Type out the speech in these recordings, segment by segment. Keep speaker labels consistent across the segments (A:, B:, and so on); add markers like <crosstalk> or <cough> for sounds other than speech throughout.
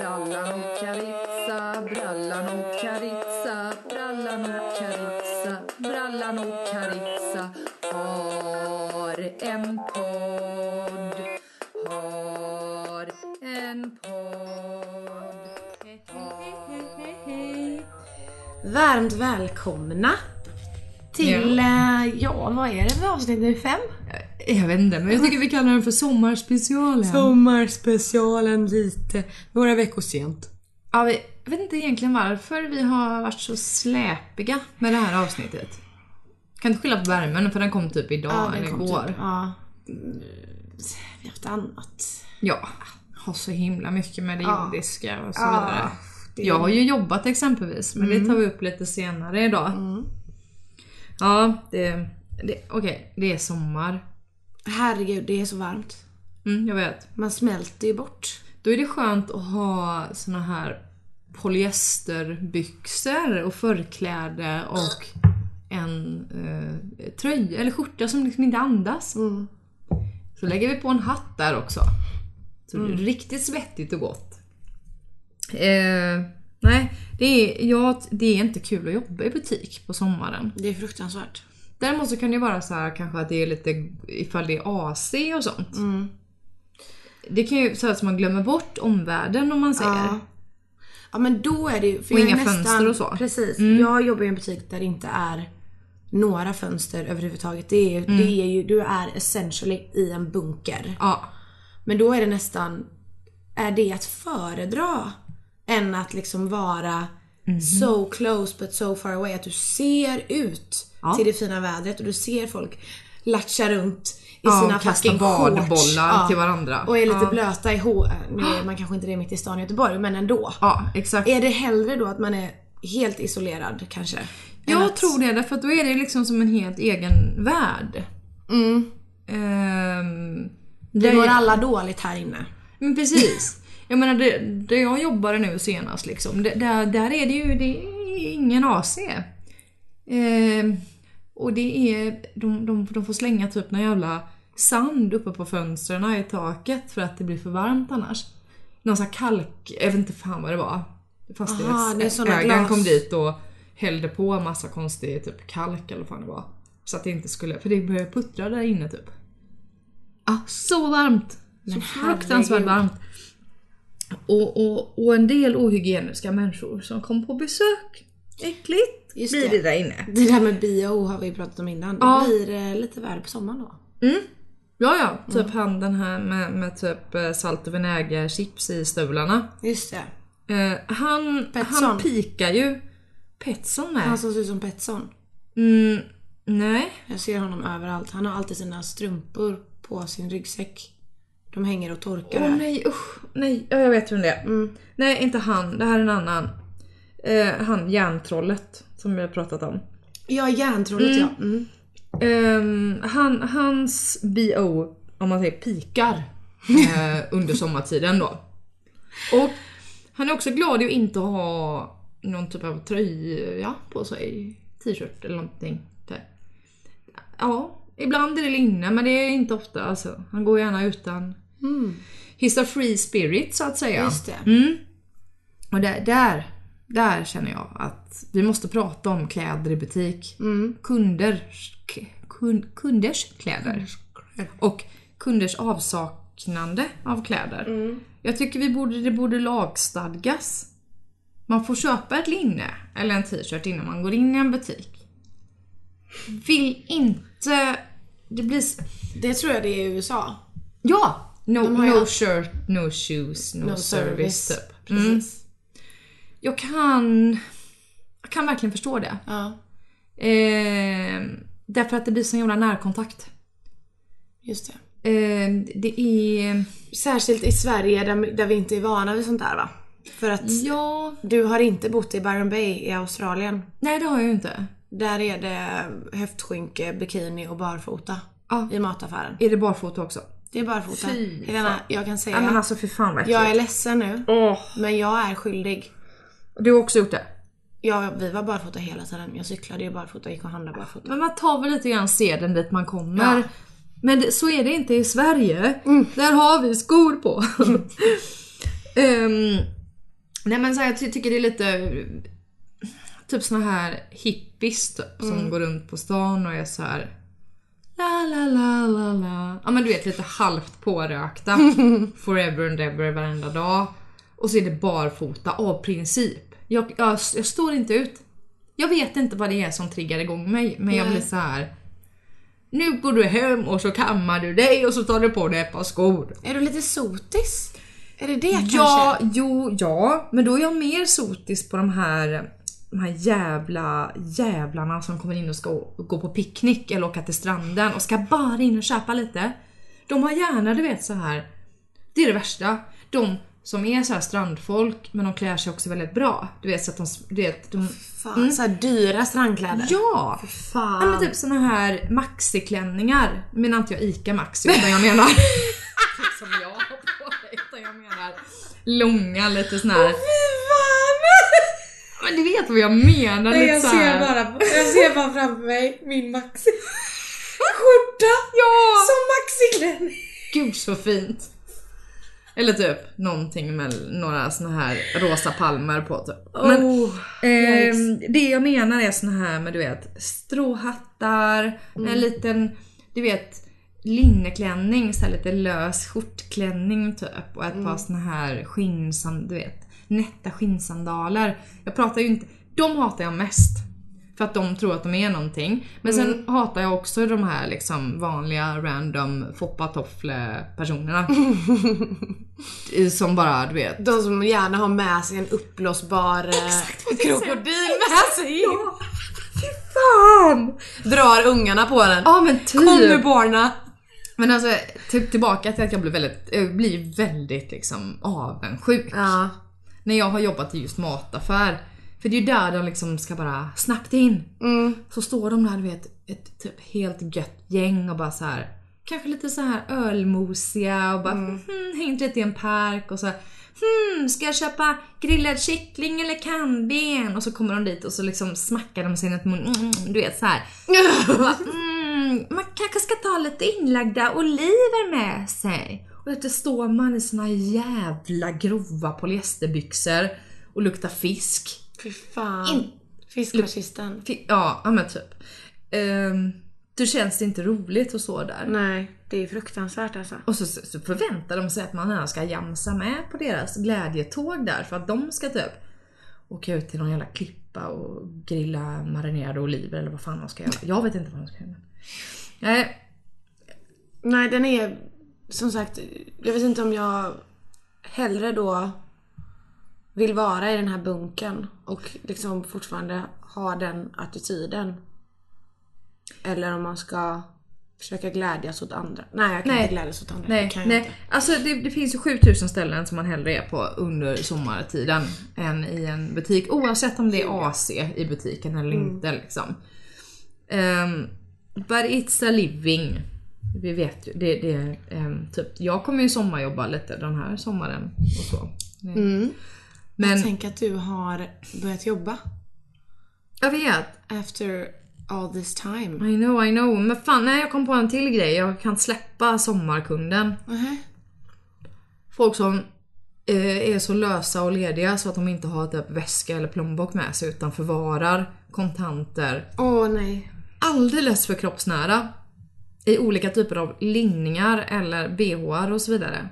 A: Brallan och Caritza, brallan och Caritza, brallan och Caritza, brallan och Caritza har en podd, har en podd.
B: Varmt välkomna till, ja, ja vad är det för avsnitt nu? Fem?
A: Jag vet inte, men jag tycker vi kallar den för sommarspecialen.
B: Sommarspecialen lite, några veckor sent.
A: Ja, vi- jag vet inte egentligen varför vi har varit så släpiga med det här avsnittet. Kan inte skylla på värmen för den kom typ idag eller igår.
B: Ja. Mm, Vi har haft annat.
A: Ja, har så himla mycket med det
B: Ja.
A: jordiska och så
B: Ja,
A: vidare.
B: det- Mm.
A: Jag har ju jobbat exempelvis, men det tar vi upp lite senare idag. Ja, det... det Okej, det är sommar.
B: Herregud, det är så varmt.
A: Mm, jag vet.
B: Man smälter ju bort.
A: Då är det skönt att ha såna här polyesterbyxor och förkläde och en eh, tröja eller skjorta som liksom inte andas.
B: Mm.
A: Så lägger vi på en hatt där också. Så det är
B: Mm.
A: riktigt svettigt och gott. Eh, nej, det är, ja, det är inte kul att jobba i butik på sommaren.
B: Det är fruktansvärt.
A: Däremot så kan det vara så här kanske att det är lite ifall det är AC och sånt.
B: Mm.
A: Det kan ju så att man glömmer bort omvärlden om man säger.
B: Ja. ja men då är det ju... för
A: Och
B: jag är
A: inga fönster och så. Mm.
B: Precis. Jag jobbar i en butik där det inte är några fönster överhuvudtaget. Det är,
A: Mm.
B: det är ju, du är essentially i en bunker.
A: Ja.
B: Men då är det nästan, är det att föredra än att liksom vara so close but so far away. Att du ser ut
A: Ja.
B: till det fina vädret och du ser folk latcha runt i
A: Ja,
B: sina
A: och kasta
B: fucking
A: badbollar
B: shorts.
A: till varandra.
B: Och är lite
A: Ja.
B: blöta i håret. Nu är man kanske inte det mitt i stan i Göteborg men ändå.
A: Ja, exakt.
B: Är det hellre då att man är helt isolerad kanske? Än
A: Jag
B: att-
A: tror det, därför att då är det liksom som en helt egen värld.
B: Mm.
A: Ehm,
B: Det
A: där
B: mår
A: jag-
B: alla dåligt här inne.
A: Men precis. Jag menar, det, där jag jobbade nu senast liksom, det, där, där är det ju det är ingen AC. Ehm, och det är, de, de, de får slänga typ någon jävla sand uppe på fönstren i taket för att det blir för varmt annars. Någon sån här kalk, jag vet inte fan vad det var.
B: Aha, det är såna
A: Fastighetsägaren
B: glas.
A: kom dit och hällde på massa konstig typ kalk eller vad fan det var. Så att det inte skulle, för det började puttra där inne typ. Ah, så varmt! Så fruktansvärt
B: herregud.
A: varmt. Och, och, och en del ohygieniska människor som kom på besök. Äckligt
B: Just
A: blir
B: det.
A: det där inne.
B: Det där med bio har vi pratat om innan.
A: Ja.
B: Det blir eh, lite värre på sommaren då.
A: Ja, ja. Typ
B: Mm.
A: han den här med, med typ eh, salt och vinägerchips i stövlarna.
B: Just det.
A: Eh, han, han
B: Petson.
A: pikar ju. Petson nej.
B: Han som ser ut som Petson.
A: Mm, nej.
B: Jag ser honom överallt. Han har alltid sina strumpor på sin ryggsäck. De hänger och torkar
A: Åh
B: där.
A: nej usch. Nej, ja, jag vet vem det är.
B: Mm.
A: Nej, inte han. Det här är en annan. Eh, han järntrollet som vi har pratat om.
B: Ja, järntrollet ja. Mm.
A: Ehm, han, hans BO, om man säger pikar eh, under sommartiden då. Och han är också glad i att inte ha någon typ av tröja på sig. T-shirt eller någonting. Där. Ja, ibland är det linne men det är inte ofta alltså. Han går gärna utan. He's a free spirit så att säga.
B: Mm. Just det.
A: Mm. Och där, där, där känner jag att vi måste prata om kläder i butik. Kunders, k- kun, kunders kläder. Och kunders avsaknande av kläder. Jag tycker vi borde, det borde lagstadgas. Man får köpa ett linne eller en t-shirt innan man går in i en butik. Vill inte... Det blir... s-
B: Det tror jag det är i USA.
A: Ja! No,
B: har ju
A: no
B: allt-
A: shirt, no shoes, no, service. Typ. Mm.
B: Precis.
A: Jag kan... Jag kan verkligen förstå det.
B: Ja,
A: Eh, därför att det blir sån jävla närkontakt.
B: just det.
A: Eh, det är...
B: Särskilt i Sverige där, där vi inte är vana vid sånt där va? För att
A: Mm. Ja...
B: du har inte bott i Byron Bay i Australien.
A: Nej, det har jag ju inte.
B: Där är det höftskynke, bikini och barfota.
A: Ja.
B: I mataffären.
A: Är det barfota också?
B: Det är barfota.
A: Fy
B: Helena,
A: fan.
B: jag kan säga.
A: Nej men alltså för fan vad äckligt.
B: jag är ledsen nu.
A: Åh,
B: Men jag är skyldig.
A: Du har också gjort det?
B: Jag, vi var barfota hela tiden. Jag cyklade ju barfota, gick och handlade barfota.
A: Men man tar väl lite grann seden dit man kommer.
B: Ja.
A: Men det, så är det inte i Sverige. Där har vi skor på. <laughs> Ehm, Nej men så här, jag ty- tycker det är lite typ såna här hippies typ, som går runt på stan och är så här la la la la la. Ja men du vet lite halvt pårökta. Forever and ever varenda dag. Och så är det barfota av princip. Jag, jag, jag står inte ut. Jag vet inte vad det är som triggar igång mig men jag
B: Nej.
A: blir så här. Nu går du hem och så kammar du dig och så tar du på dig ett par skor.
B: Är du lite sotis? Är det det kanske?
A: Ja, jo, ja. Men då är jag mer sotis på de här, de här jävla jävlarna som kommer in och ska å- gå på picknick eller åka till stranden och ska bara in och köpa lite. De har gärna, du vet så här. Det är det värsta. De som är så här strandfolk men de klär sig också väldigt bra. Du vet så att de... Du vet, de
B: Fan, så här dyra strandkläder.
A: ja!
B: Fan.
A: Ja, men typ såna här maxiklänningar. Nu menar inte jag ICA Maxi utan jag menar... <laughs> som jag har på mig. Utan jag menar långa lite såna här... Men du vet vad jag menar.
B: Nej,
A: lite
B: jag
A: så
B: ser
A: här.
B: bara, jag ser bara framför mig min maxi <laughs> skjorta
A: Ja!
B: som maxiklänning.
A: Gud så fint. Eller typ någonting med några såna här rosa palmer på typ. Men,
B: Oh,
A: ehm, det jag menar är såna här med du vet stråhattar, en liten du vet linneklänning, så här lite lös skjortklänning typ och ett par såna här skinnsand, du vet nätta skinnsandaler. Jag pratar ju inte, de hatar jag mest. För att de tror att de är någonting. Men sen hatar jag också de här liksom vanliga random foppatoffle personerna. som bara du vet.
B: De som gärna har med sig en uppblåsbar eh, krokodil med sig in.
A: Fan!
B: Drar ungarna på den.
A: Ja men typ.
B: Kom nu barna!
A: Men alltså typ tillbaka till att jag blir väldigt, eh, blir väldigt liksom avundsjuk.
B: Ja.
A: När jag har jobbat i just mataffär. För det är ju där de liksom ska bara snabbt in.
B: Mm.
A: Så står de där du vet, ett typ helt gött gäng och bara så här. Kanske lite så här ölmosiga och bara
B: Mm.
A: hmm, hängt lite i en park och så här, hmm, ska jag köpa grillad kyckling eller kannben? Och så kommer de dit och så liksom smackar de sig i mun, mm, mm, du vet så här. Mm, man kanske ska ta lite inlagda oliver med sig. Och efter står man i såna jävla grova polyesterbyxor och luktar fisk.
B: Fy fan. Fiskmarkisten.
A: Fi- Ja, ja men typ. Um, då känns det inte roligt att stå där.
B: Nej, det är fruktansvärt alltså.
A: Och så, så så förväntar de sig att man här ska jamsa med på deras glädjetåg där för att de ska typ åka ut till någon jävla klippa och grilla marinerade oliver eller vad fan de ska göra. Jag vet inte vad de ska göra. Nej,
B: Nej, den är som sagt, jag vet inte om jag hellre då vill vara i den här bunken och liksom fortfarande ha den attityden. Eller om man ska försöka glädjas åt andra. Nej, jag kan
A: Nej.
B: inte glädjas åt andra. det
A: Nej,
B: kan jag
A: nej.
B: inte.
A: Alltså det, det finns ju 7000 ställen som man hellre är på under sommartiden än i en butik. Oavsett om det är AC i butiken eller
B: Mm.
A: inte liksom. Um, but it's a living. Vi vet ju. Det, det, är, ehm, typ, jag kommer ju sommarjobba lite den här sommaren och så. Men
B: Mm. Tänk att du har börjat jobba
A: jag vet.
B: after all this time.
A: I know, I know. Men fan, nej, jag kom på en till grej. Jag kan släppa sommarkunden.
B: Mhm.
A: Folk som eh, är så lösa och lediga så att de inte har typ väska eller plånbok med sig utan förvarar kontanter
B: Åh nej.
A: alldeles för kroppsnära i olika typer av linningar eller bhar och så vidare.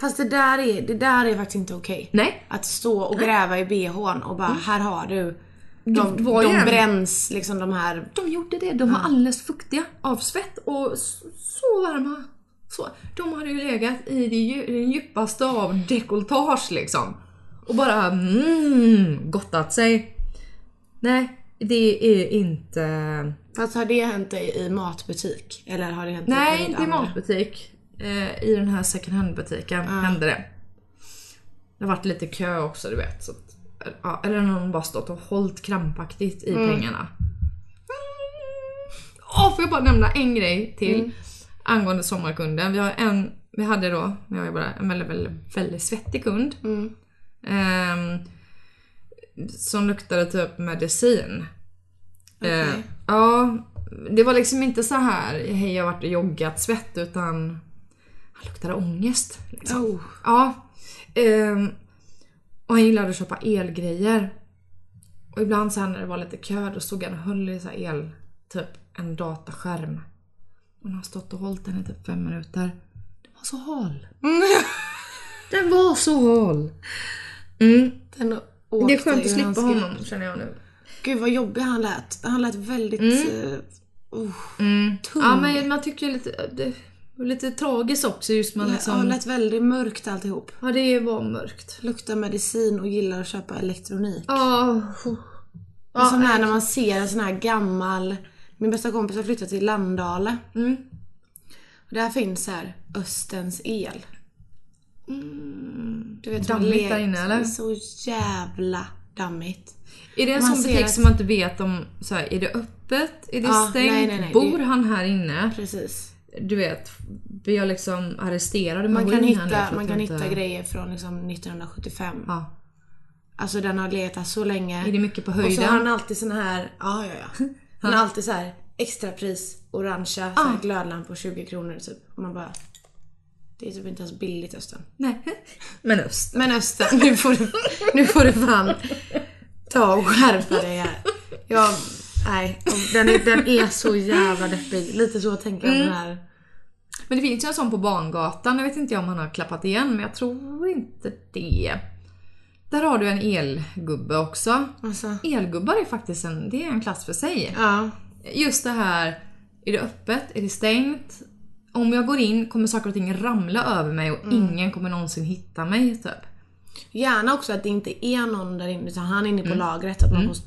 B: Fast det där är, det där är faktiskt inte okej.
A: Nej,
B: Att stå och gräva i bhn och bara här har du.
A: Det
B: De,
A: var ju
B: de
A: en-
B: bränns liksom de här.
A: de gjorde det. De var alldeles fuktiga av svett och s- så varma. Så, de hade ju legat i det dju- den djupaste av dekolletage liksom. Och bara mm, gottat sig. Nej, det är inte
B: Fast har det hänt dig i matbutik? Eller har det hänt dig
A: Nej,
B: bland
A: inte i
B: andra?
A: matbutik. Eh, I den här second hand-butiken hände det. Det har varit lite kö också, du vet. Så att, ja, eller någon bara stått och hållit krampaktigt i
B: Mm.
A: pengarna. Åh, får jag bara nämna en grej till
B: Mm.
A: angående sommarkunden. Vi, har en, vi hade då, när jag jobbade, en väldigt, väldigt, väldigt svettig kund. Ehm, som luktade typ medicin. Eh,
B: Okej.
A: ja, det var liksom inte så här hej jag har varit och joggat svett utan han luktade ångest. Liksom.
B: Oh.
A: Ja. ehm, Och han gillade att köpa elgrejer. Och ibland så här när det var lite kö då stod han och höll i så här el, typ en dataskärm. Och han har stått och hållit den i typ fem minuter. Den var så hal. Den var så hal. Mm.
B: Den
A: Det är
B: åkte
A: skönt
B: ur
A: att slippa
B: hans
A: honom känner jag nu.
B: Gud vad jobbig han lät. Han lät väldigt...
A: Mm.
B: eh, oh, tung.
A: Ja men man tycker ju lite, det var lite tragiskt också just man
B: Ja,
A: liksom,
B: lät väldigt mörkt alltihop.
A: ja det var mörkt.
B: Luktar medicin och gillar att köpa elektronik.
A: Ja, oh,
B: Det är som här när man ser en sån här gammal... Min bästa kompis har flyttat till Landale.
A: Mm.
B: Och där finns här Östens el.
A: Mm.
B: Du vet,
A: Dammigt
B: man le-
A: där inne, eller?
B: Det är så jävla dammigt.
A: Är det en
B: Man
A: sån
B: ser
A: butik
B: att-
A: som man inte vet om, så här, är det öppet? Är det
B: Ja,
A: stängt?
B: nej, nej, nej,
A: Bor
B: det-
A: han här inne?
B: Precis.
A: Du vet, blir jag liksom arresterad om jag
B: Man
A: går
B: kan,
A: in här nu för
B: hitta,
A: att
B: man
A: jag
B: kan
A: inte-
B: hitta grejer från liksom 1975.
A: Ja.
B: Alltså den har letat så länge.
A: Är det mycket på
B: Och så har <laughs>
A: höjden?
B: han alltid såna här, ja ja ja.
A: <laughs>
B: Han har alltid så här extrapris, orangea, så här glödlampor 20 kronor typ. Och man bara, det är typ inte ens billigt Östen.
A: Nej. Men öst.
B: Men Östen, nu får du, nu får du fan ta och skärpa dig här. Jag, nej, och den är, den är så jävla deppig. Lite så tänker
A: Mm.
B: jag om den här.
A: Men det finns ju en sån på Bangatan, jag vet inte om han har klappat igen men jag tror inte det. Där har du en elgubbe också.
B: Alltså,
A: Elgubbar är faktiskt en, det är en klass för sig.
B: ja.
A: Just det här, är det öppet? Är det stängt? Om jag går in kommer saker och ting ramla över mig och ingen kommer någonsin hitta mig typ.
B: Gärna också att det inte är någon där inne utan han är inne
A: Mm.
B: på lagret. Att man måste...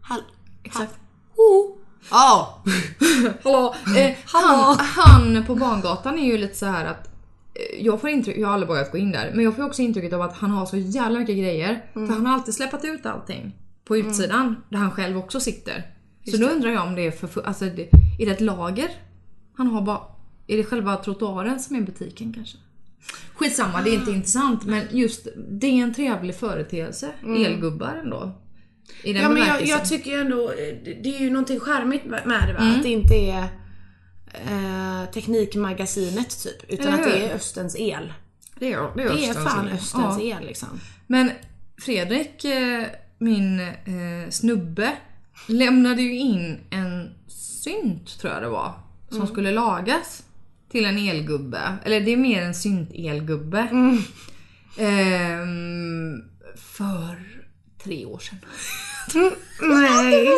B: Hall,
A: Exakt. Ho!
B: Ja!
A: <laughs> Hallå! Eh, han, han på Bangatan är ju lite så här att eh, jag får intryck, jag har aldrig vågat gå in där, men jag får också intrycket av att han har så jävla mycket grejer.
B: Mm.
A: För han har alltid släppt ut allting på utsidan där han själv också sitter. så då undrar jag om det är för, alltså det, är det ett lager? Han har bara, är det själva trottoaren som är butiken kanske? Skitsamma, det är
B: Ah.
A: inte intressant men just det är en trevlig företeelse, elgubbar ändå. I den
B: Mm. Ja men jag,
A: bemärkelsen.
B: jag tycker ju ändå, eh, det- det är ju någonting charmigt med med det va? Att det inte är eh, Teknikmagasinet typ. Utan
A: Eller
B: att det
A: hur?
B: är Östens el.
A: det är, det
B: Det är
A: Östens
B: fan
A: el.
B: Östens
A: Ja.
B: el liksom.
A: Men Fredrik, eh, min eh, snubbe, lämnade ju in en synt tror jag det var. Som skulle lagas till en elgubbe. Eller det är mer en synt-elgubbe. Ehm, för tre år sedan. Mm, <laughs>
B: Nej.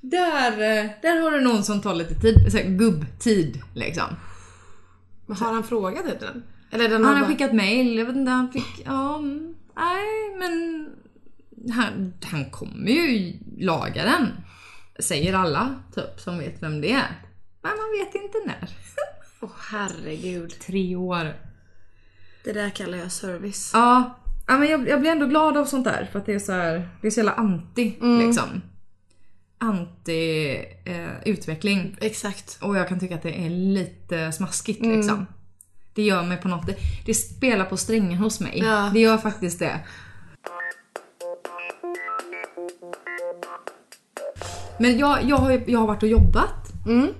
A: Där, eh, där har du någon som tar lite tid, så här, gubbtid liksom.
B: Men har han frågat efter den? Eller den
A: Han
B: har
A: har
B: bara,
A: skickat mail, jag vet inte, han fick... Ja, mm, nej men... Han, han kommer ju laga den. Säger alla, typ, som vet vem det är. Men man vet inte när.
B: åh herregud.
A: Tre år.
B: Det där kallar jag service.
A: Ja, ja men jag, jag blir ändå glad av sånt där för att det är så här, det är så jävla anti liksom. Anti eh, utveckling.
B: Exakt.
A: Och jag kan tycka att det är lite smaskigt liksom. Det gör mig på något, det, det spelar på strängen hos mig.
B: Ja.
A: Det gör faktiskt det. Men jag, jag, har, ju- jag har varit och jobbat.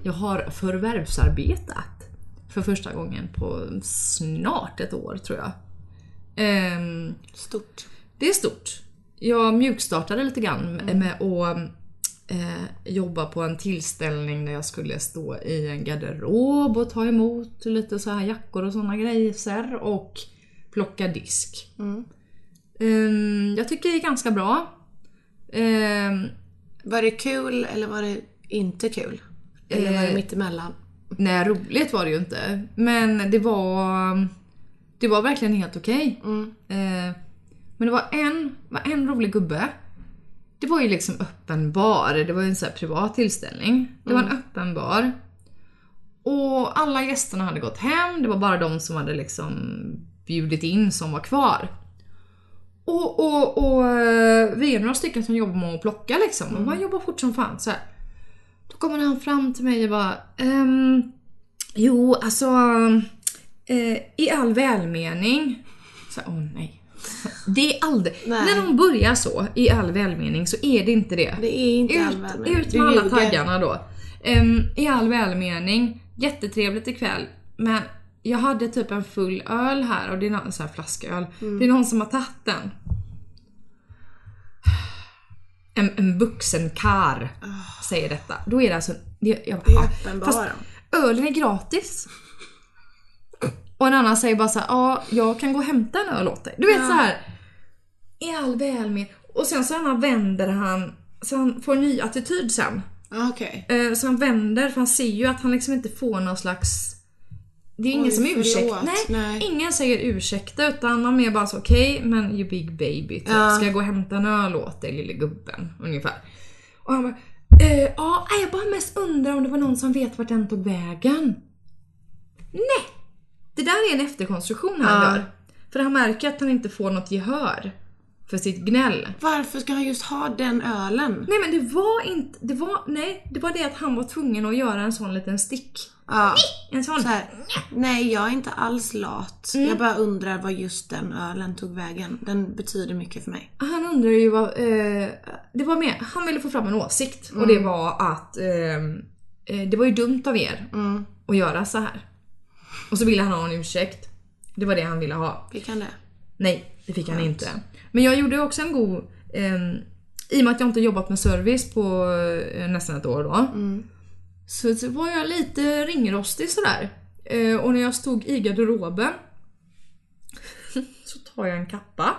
A: Jag har förvärvsarbetat. För första gången på snart ett år tror jag. Ehm,
B: Stort.
A: det är stort. Jag mjukstartade lite grann med att eh, jobba på en tillställning där jag skulle stå i en garderob och ta emot lite så här jackor och såna grejer och plocka disk. Ehm, jag tycker det är ganska bra. Ehm,
B: Var det kul eller var det inte kul? Eller var det mittemellan?
A: Nej, roligt var det ju inte. Men det var... Det var verkligen helt okej. Eh, men det var en, var en rolig gubbe. Det var ju liksom öppen bar. Det var ju en så här privat tillställning. Det var en öppen bar. Och alla gästerna hade gått hem. Det var bara de som hade liksom bjudit in som var kvar. Och, och, och eh, vi är några stycken som jobbar med att plocka liksom. Och man jobbar fort som fan. Så här. Då kommer han fram till mig och bara ehm, Jo, alltså eh, i all välmening. Så åh nej. Det är aldrig,
B: Nej.
A: när de börjar så i all välmening så är det inte det.
B: Det är inte all
A: ut,
B: välmening.
A: ut
B: Du
A: med alla
B: ljuger.
A: taggarna då. Ehm, I all välmening, jättetrevligt ikväll men jag hade typ en full öl här och det är någon så här flasköl.
B: Mm.
A: Det är någon som har tagit den. En, en vuxen kar säger detta. Då är det alltså... Det, jag,
B: Det är
A: ja.
B: uppenbara.
A: Fast ölen är gratis. Och en annan säger bara så här, ja jag kan gå och hämta en öl åt dig. Du vet
B: Ja.
A: så här. I all välmening. Och sen så han vänder han, så han får en ny attityd sen.
B: Ah, Okej.
A: Eh, Så han vänder för han ser ju att han liksom inte får någon slags... Det är ingen
B: Oj,
A: som
B: förlåt.
A: ursäktar. Nej,
B: Nej.
A: Ingen säger ursäkta utan man är bara så okej men you big baby typ.
B: Ja.
A: Ska jag gå och hämta en öl åt dig lille gubben? Ungefär. Och han bara eh, ja, nej, jag bara mest undrar om det var någon som vet vart den tog vägen. Nej! Det där är en efterkonstruktion han
B: Ja.
A: gör. För han märker att han inte får något gehör för sitt gnäll.
B: Varför ska han just ha den ölen?
A: Nej men det var inte, det var, nej, det var det att han var tvungen att göra en sån liten stick.
B: Ja.
A: En sån.
B: Så här, nej, jag är inte alls lat. Jag bara undrar var just den ölen tog vägen. Den betyder mycket för mig.
A: Han undrar ju vad, eh, det var mer, han ville få fram en åsikt och
B: Mm.
A: det var att eh, eh, det var ju dumt av er
B: Mm.
A: att göra så här. Och så ville han ha en ursäkt. Det var det han ville ha.
B: Fick han det?
A: Nej, det fick han inte. Men jag gjorde också en god, ehm, i och med att jag inte jobbat med service på eh, nästan ett år då.
B: Mm.
A: Så, så var jag lite ringrostig sådär. Eh, och när jag stod i garderoben så tar jag en kappa.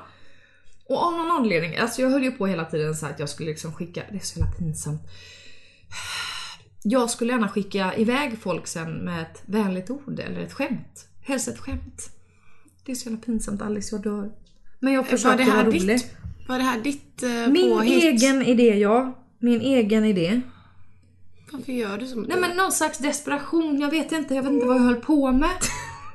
A: Och av någon anledning, alltså jag höll ju på hela tiden så att jag skulle liksom skicka, det är så jävla pinsamt. Jag skulle gärna skicka iväg folk sen med ett vänligt ord eller ett skämt. Helst ett skämt. Det är så jävla pinsamt Alice, jag dör. Men jag försökte
B: här
A: vara
B: ditt
A: rolig.
B: Var det här ditt eh,
A: Min
B: påhitt?
A: egen idé ja. Min egen idé.
B: Varför gör du så mot
A: Nej
B: dig?
A: men någon slags desperation, jag vet inte, jag vet inte vad jag höll på med. <laughs>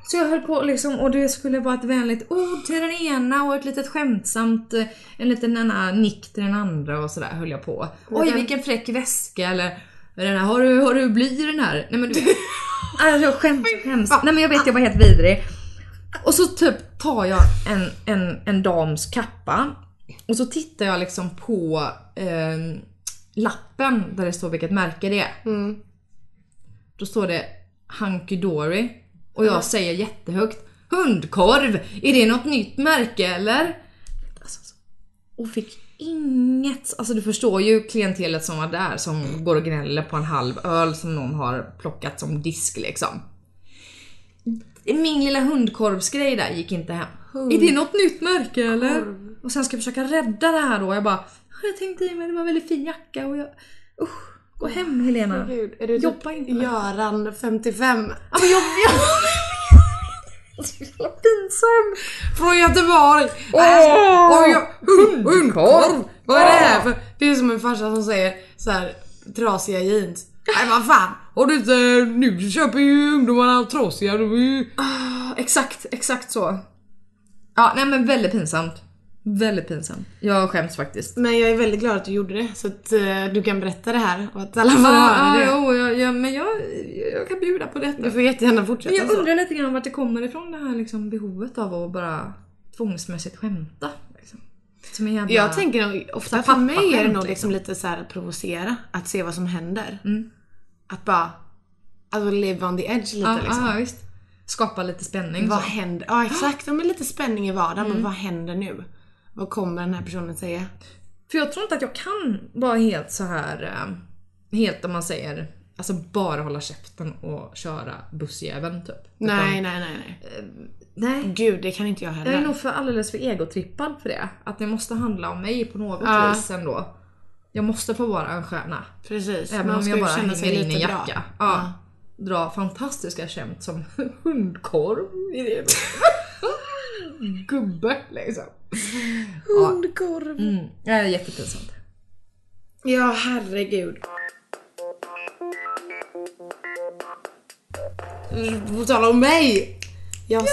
A: Så jag höll på liksom och det skulle vara ett vänligt ord till den ena och ett litet skämtsamt, eh, en liten ena nick till den andra och sådär höll jag på. Oj
B: den-
A: vilken fräck väska eller den här, har du, har du bly i den här? Nej men du <laughs> vet. Alltså jag skämt, skäms. Nej men jag vet jag var helt vidrig. Och så typ tar jag en, en, en dams kappa och så tittar jag liksom på eh, lappen där det står vilket märke det är.
B: Mm.
A: Då står det Hunky Dory och jag säger jättehögt Hundkorv! Är det något nytt märke eller? Alltså, så- och fick inget, alltså du förstår ju klientelet som var där som går och gnäller på en halv öl som någon har plockat som disk liksom. Min lilla hundkorvsgrej där gick inte hem. Är det något nytt märke eller? Och sen ska jag försöka rädda det här då jag bara Jag tänkte i mig, det var en väldigt fin jacka och jag Usch, gå hem Helena.
B: Gud, är du
A: Jobba inte med-
B: Göran 55?
A: Ja, men jag... jag... Det är så pinsamt.
B: Från Göteborg!
A: Åh!
B: Alltså, och jag, hund,
A: Hundkorv!
B: hundkorv! Vad är det här för... Det är som en farsa som säger så här trasiga jeans. Nej vad fan! Har du inte... Nu köper ju ungdomarna trasiga, de är ju...
A: Ja, Exakt, exakt så. Ja, nej men väldigt pinsamt. Väldigt pinsamt. Jag skäms faktiskt.
B: Men jag är väldigt glad att du gjorde det så att eh, du kan berätta det här och att alla får
A: Ja,
B: höra det.
A: jo, Ah, jag, jag, men jag, jag kan bjuda på detta.
B: Du får jättegärna
A: Men
B: fortsätta
A: jag
B: så.
A: undrar lite grann vart det kommer ifrån det här liksom behovet av att bara tvångsmässigt skämta. Liksom. Som en jävla...
B: Jag tänker nog ofta,
A: här
B: för mig är det
A: pappaskämt,
B: nog liksom
A: liksom.
B: lite så här att provocera, att se vad som händer.
A: Mm.
B: Att bara, alltså live on the edge lite
A: ja,
B: liksom.
A: ja, visst. Skapa lite spänning.
B: Vad
A: så.
B: händer? Ja exakt, Mm. ja, men lite spänning i vardagen. Men vad händer nu? Vad kommer den här personen säga?
A: För jag tror inte att jag kan vara helt så här eh, helt om man säger alltså bara hålla käften och köra bussjäveln typ.
B: Nej, nej, nej, nej.
A: Utan, nej.
B: Gud, det kan inte jag
A: Jag är
B: heller.
A: nog för alldeles för egotrippad för det. Att det måste handla om mig på något
B: Ja.
A: vis ändå. Jag måste få vara en stjärna.
B: Precis.
A: Även
B: Man
A: om
B: ska
A: jag
B: ju
A: bara
B: känna sig
A: hänger in i
B: lite bra.
A: jacka. Ja. Dra fantastiska skämt som <laughs> hundkorv. i
B: <laughs>
A: det. Gubbe liksom. Ja,
B: Hundkorv.
A: mm. ja jättepinsamt.
B: Ja, herregud. På tal om mig. Jag har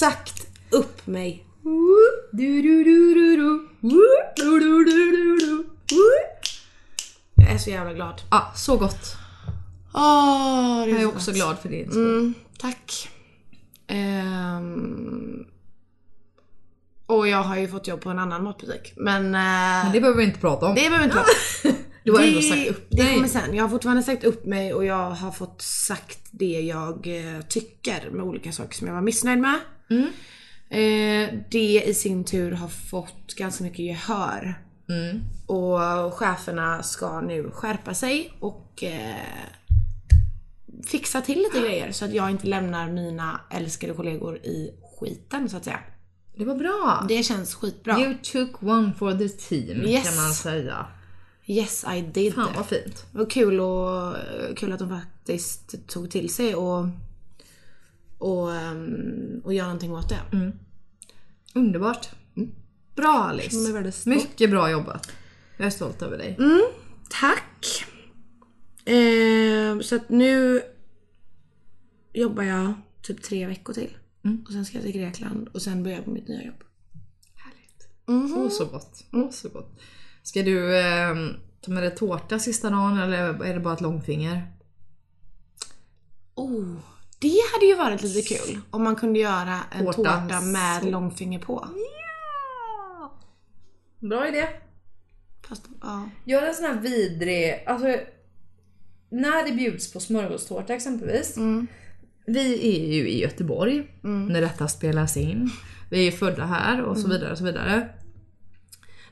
B: sagt upp mig.
A: Du, du, du, du, du. Du, du, du, du, du.
B: Jag är så jävla glad.
A: Ja, Ah, så gott.
B: Åh, Ah, det
A: Jag är
B: så
A: också
B: gott.
A: glad för din skull.
B: Mm, tack. Ehm, och jag har ju fått jobb på en annan matbutik. Men, eh,
A: Men det behöver vi inte prata om.
B: det behöver vi inte vara.
A: Du har ändå sagt upp
B: det
A: dig.
B: kommer sen. Jag har fortfarande sagt upp mig och jag har fått sagt det jag eh, tycker med olika saker som jag var missnöjd med.
A: Mm.
B: Eh, det i sin tur har fått ganska mycket gehör.
A: Mm.
B: Och cheferna ska nu skärpa sig och eh, fixa till lite grejer så att jag inte lämnar mina älskade kollegor i skiten så att säga.
A: Det var bra.
B: Det känns skitbra.
A: You took one for the team
B: Yes.
A: kan man säga.
B: Yes I did.
A: Fan vad fint.
B: Det var kul, och, eh, kul att de faktiskt tog till sig och, och, ehm, och göra någonting åt det.
A: Underbart.
B: Bra Alice!
A: Jag är väldigt stolt. Mycket bra jobbat. Jag är stolt över dig.
B: Tack! Ehm, så att nu jobbar jag typ tre veckor till. Och sen ska jag till Grekland och sen börjar jag på mitt nya jobb.
A: Härligt. Åh så gott. Åh så gott. Ska du eh, ta med dig tårta sista dagen eller är det bara ett långfinger?
B: Oh, det hade ju varit lite kul om man kunde göra en
A: Tårta.
B: tårta, med långfinger på.
A: Bra idé.
B: Fast, ja.
A: Gör en sån här vidrig, alltså när det bjuds på smörgåstårta exempelvis.
B: Mm.
A: Vi är ju i Göteborg när detta spelas in. Vi är födda här och
B: Mm.
A: så vidare och så vidare.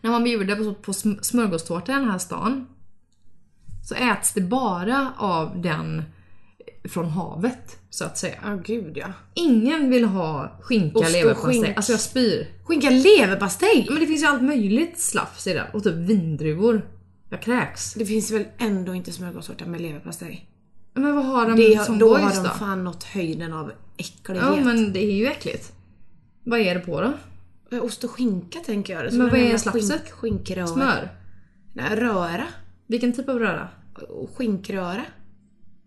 A: När man bjuder på, på sm- smörgåstårta i den här stan så äts det bara av den från havet så att säga.
B: Ja, gud ja.
A: Ingen vill ha skinka,
B: Ost och
A: leverpastej.
B: skink.
A: Alltså jag spyr.
B: Skinka leverpastej!
A: Men det finns ju allt möjligt slafs i den. Och typ vindruvor. Jag kräks.
B: Det finns väl ändå inte smörgåstårta med leverpastej?
A: Men vad har de
B: Det,
A: Mm, som
B: då har
A: gojs
B: de
A: då?
B: fan nått höjden av äcklighet.
A: ja men det är ju äckligt. Vad är det på då?
B: Ost och skinka tänker jag. Det är som
A: Men
B: en
A: vad är
B: jävla
A: slafset?
B: Skink, skinkröra.
A: Smör?
B: Nej, röra.
A: Vilken typ av röra?
B: Och Skinkröra.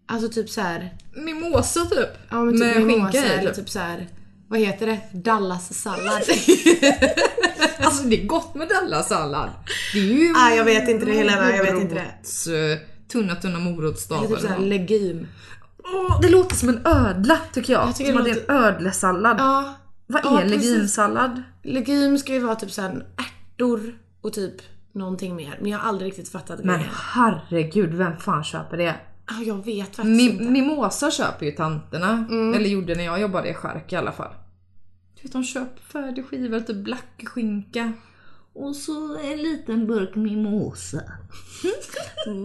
B: Alltså typ så här.
A: Mimosa typ.
B: Ja men typ
A: Med
B: mimosa
A: skinka i
B: eller
A: typ.
B: typ så här. Vad heter det?
A: <laughs>
B: Dallas-sallad.
A: Alltså det är gott med dallasallad. Det är ju...
B: Ah, jag vet inte det, Helena, jag vet inte det.
A: det. Tunna tunna
B: Det är
A: morotsstavar.
B: typ så här legum.
A: Åh, det låter som en ödla tycker jag.
B: Jag tycker
A: som
B: det
A: att det är en ödlesallad.
B: Ja.
A: Vad
B: ja,
A: är
B: precis.
A: leginsallad?
B: Legum ska ju vara typ så här ärtor och typ någonting mer. Men jag har aldrig riktigt fattat
A: Men
B: grejen.
A: herregud, vem fan köper det?
B: Ja, jag vet faktiskt
A: Mi-
B: inte.
A: Mimosa köper ju tanterna, eller gjorde när jag jobbade i skärk i alla fall. Mm. Du vet de köper färdigskivor, typ blackskinka. Och så en liten burk mimosa.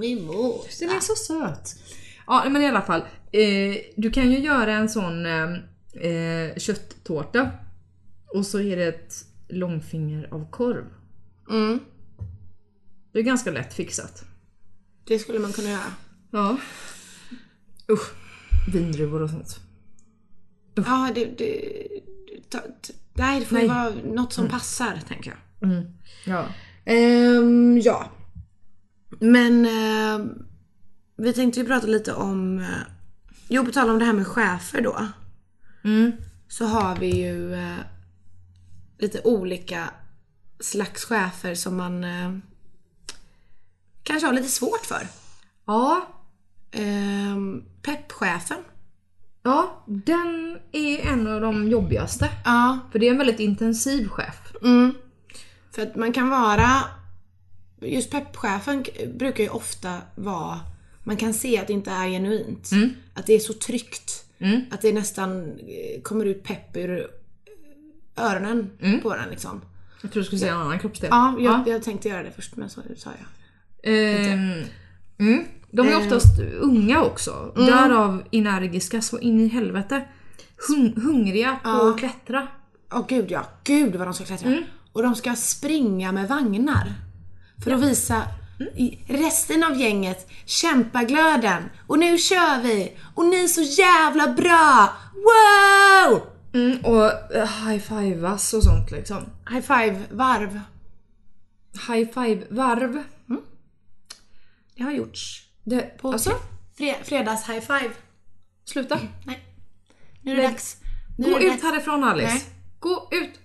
B: Mimos.
A: Den är så söt. Ja men i alla fall, eh, du kan ju göra en sån eh, eh, kötttårta. Och så är det ett långfinger av korv.
B: Mm.
A: Det är ganska lätt fixat.
B: Det skulle man kunna göra.
A: Ja. Usch. Vindruvor och sånt.
B: Ja, det... det ta, t- nej, Mm. det får ju
A: Nej.
B: vara något som passar, tänker jag.
A: Mm. Ja.
B: Ehm, ja. Men ehm, vi tänkte ju prata lite om... eh, Jo, på tal om det här med chefer då.
A: Mm.
B: Så har vi ju eh, lite olika slags chefer som man eh, kanske har lite svårt för.
A: Ja,
B: Ehm, Peppchefen.
A: Ja, den är en av de jobbigaste.
B: Ja,
A: För det är en väldigt intensiv chef.
B: Mm. För att man kan vara... Just peppchefen k- brukar ju ofta vara... Man kan se att det inte är genuint. Att det är så tryggt.
A: Mm.
B: Att det nästan eh, kommer ut pepp ur eh, öronen på den liksom.
A: Jag tror du skulle säga en annan kroppsdel.
B: Ja, jag, jag tänkte göra det först men så sa jag.
A: Ehm, mm. De är oftast unga också. Därav energiska så in i helvete. Hung- hungriga på att klättra.
B: Åh gud ja, gud vad de ska klättra.
A: Mm.
B: Och de ska springa med vagnar. För att visa
A: Mm.
B: i- resten av gänget, kämpaglöden. Och nu kör vi! Och ni är så jävla bra! Wow!
A: Mm, och eh, high-fivas och sånt liksom.
B: High five, varv.
A: High-five-varv.
B: Det har gjorts.
A: Det-
B: På
A: Alltså, Mm.
B: fre- fredags high five.
A: sluta.
B: Nej. Nu är det
A: Nej.
B: dags. Nu
A: Gå
B: är det
A: ut härifrån Alice.
B: Nej.
A: Gå ut.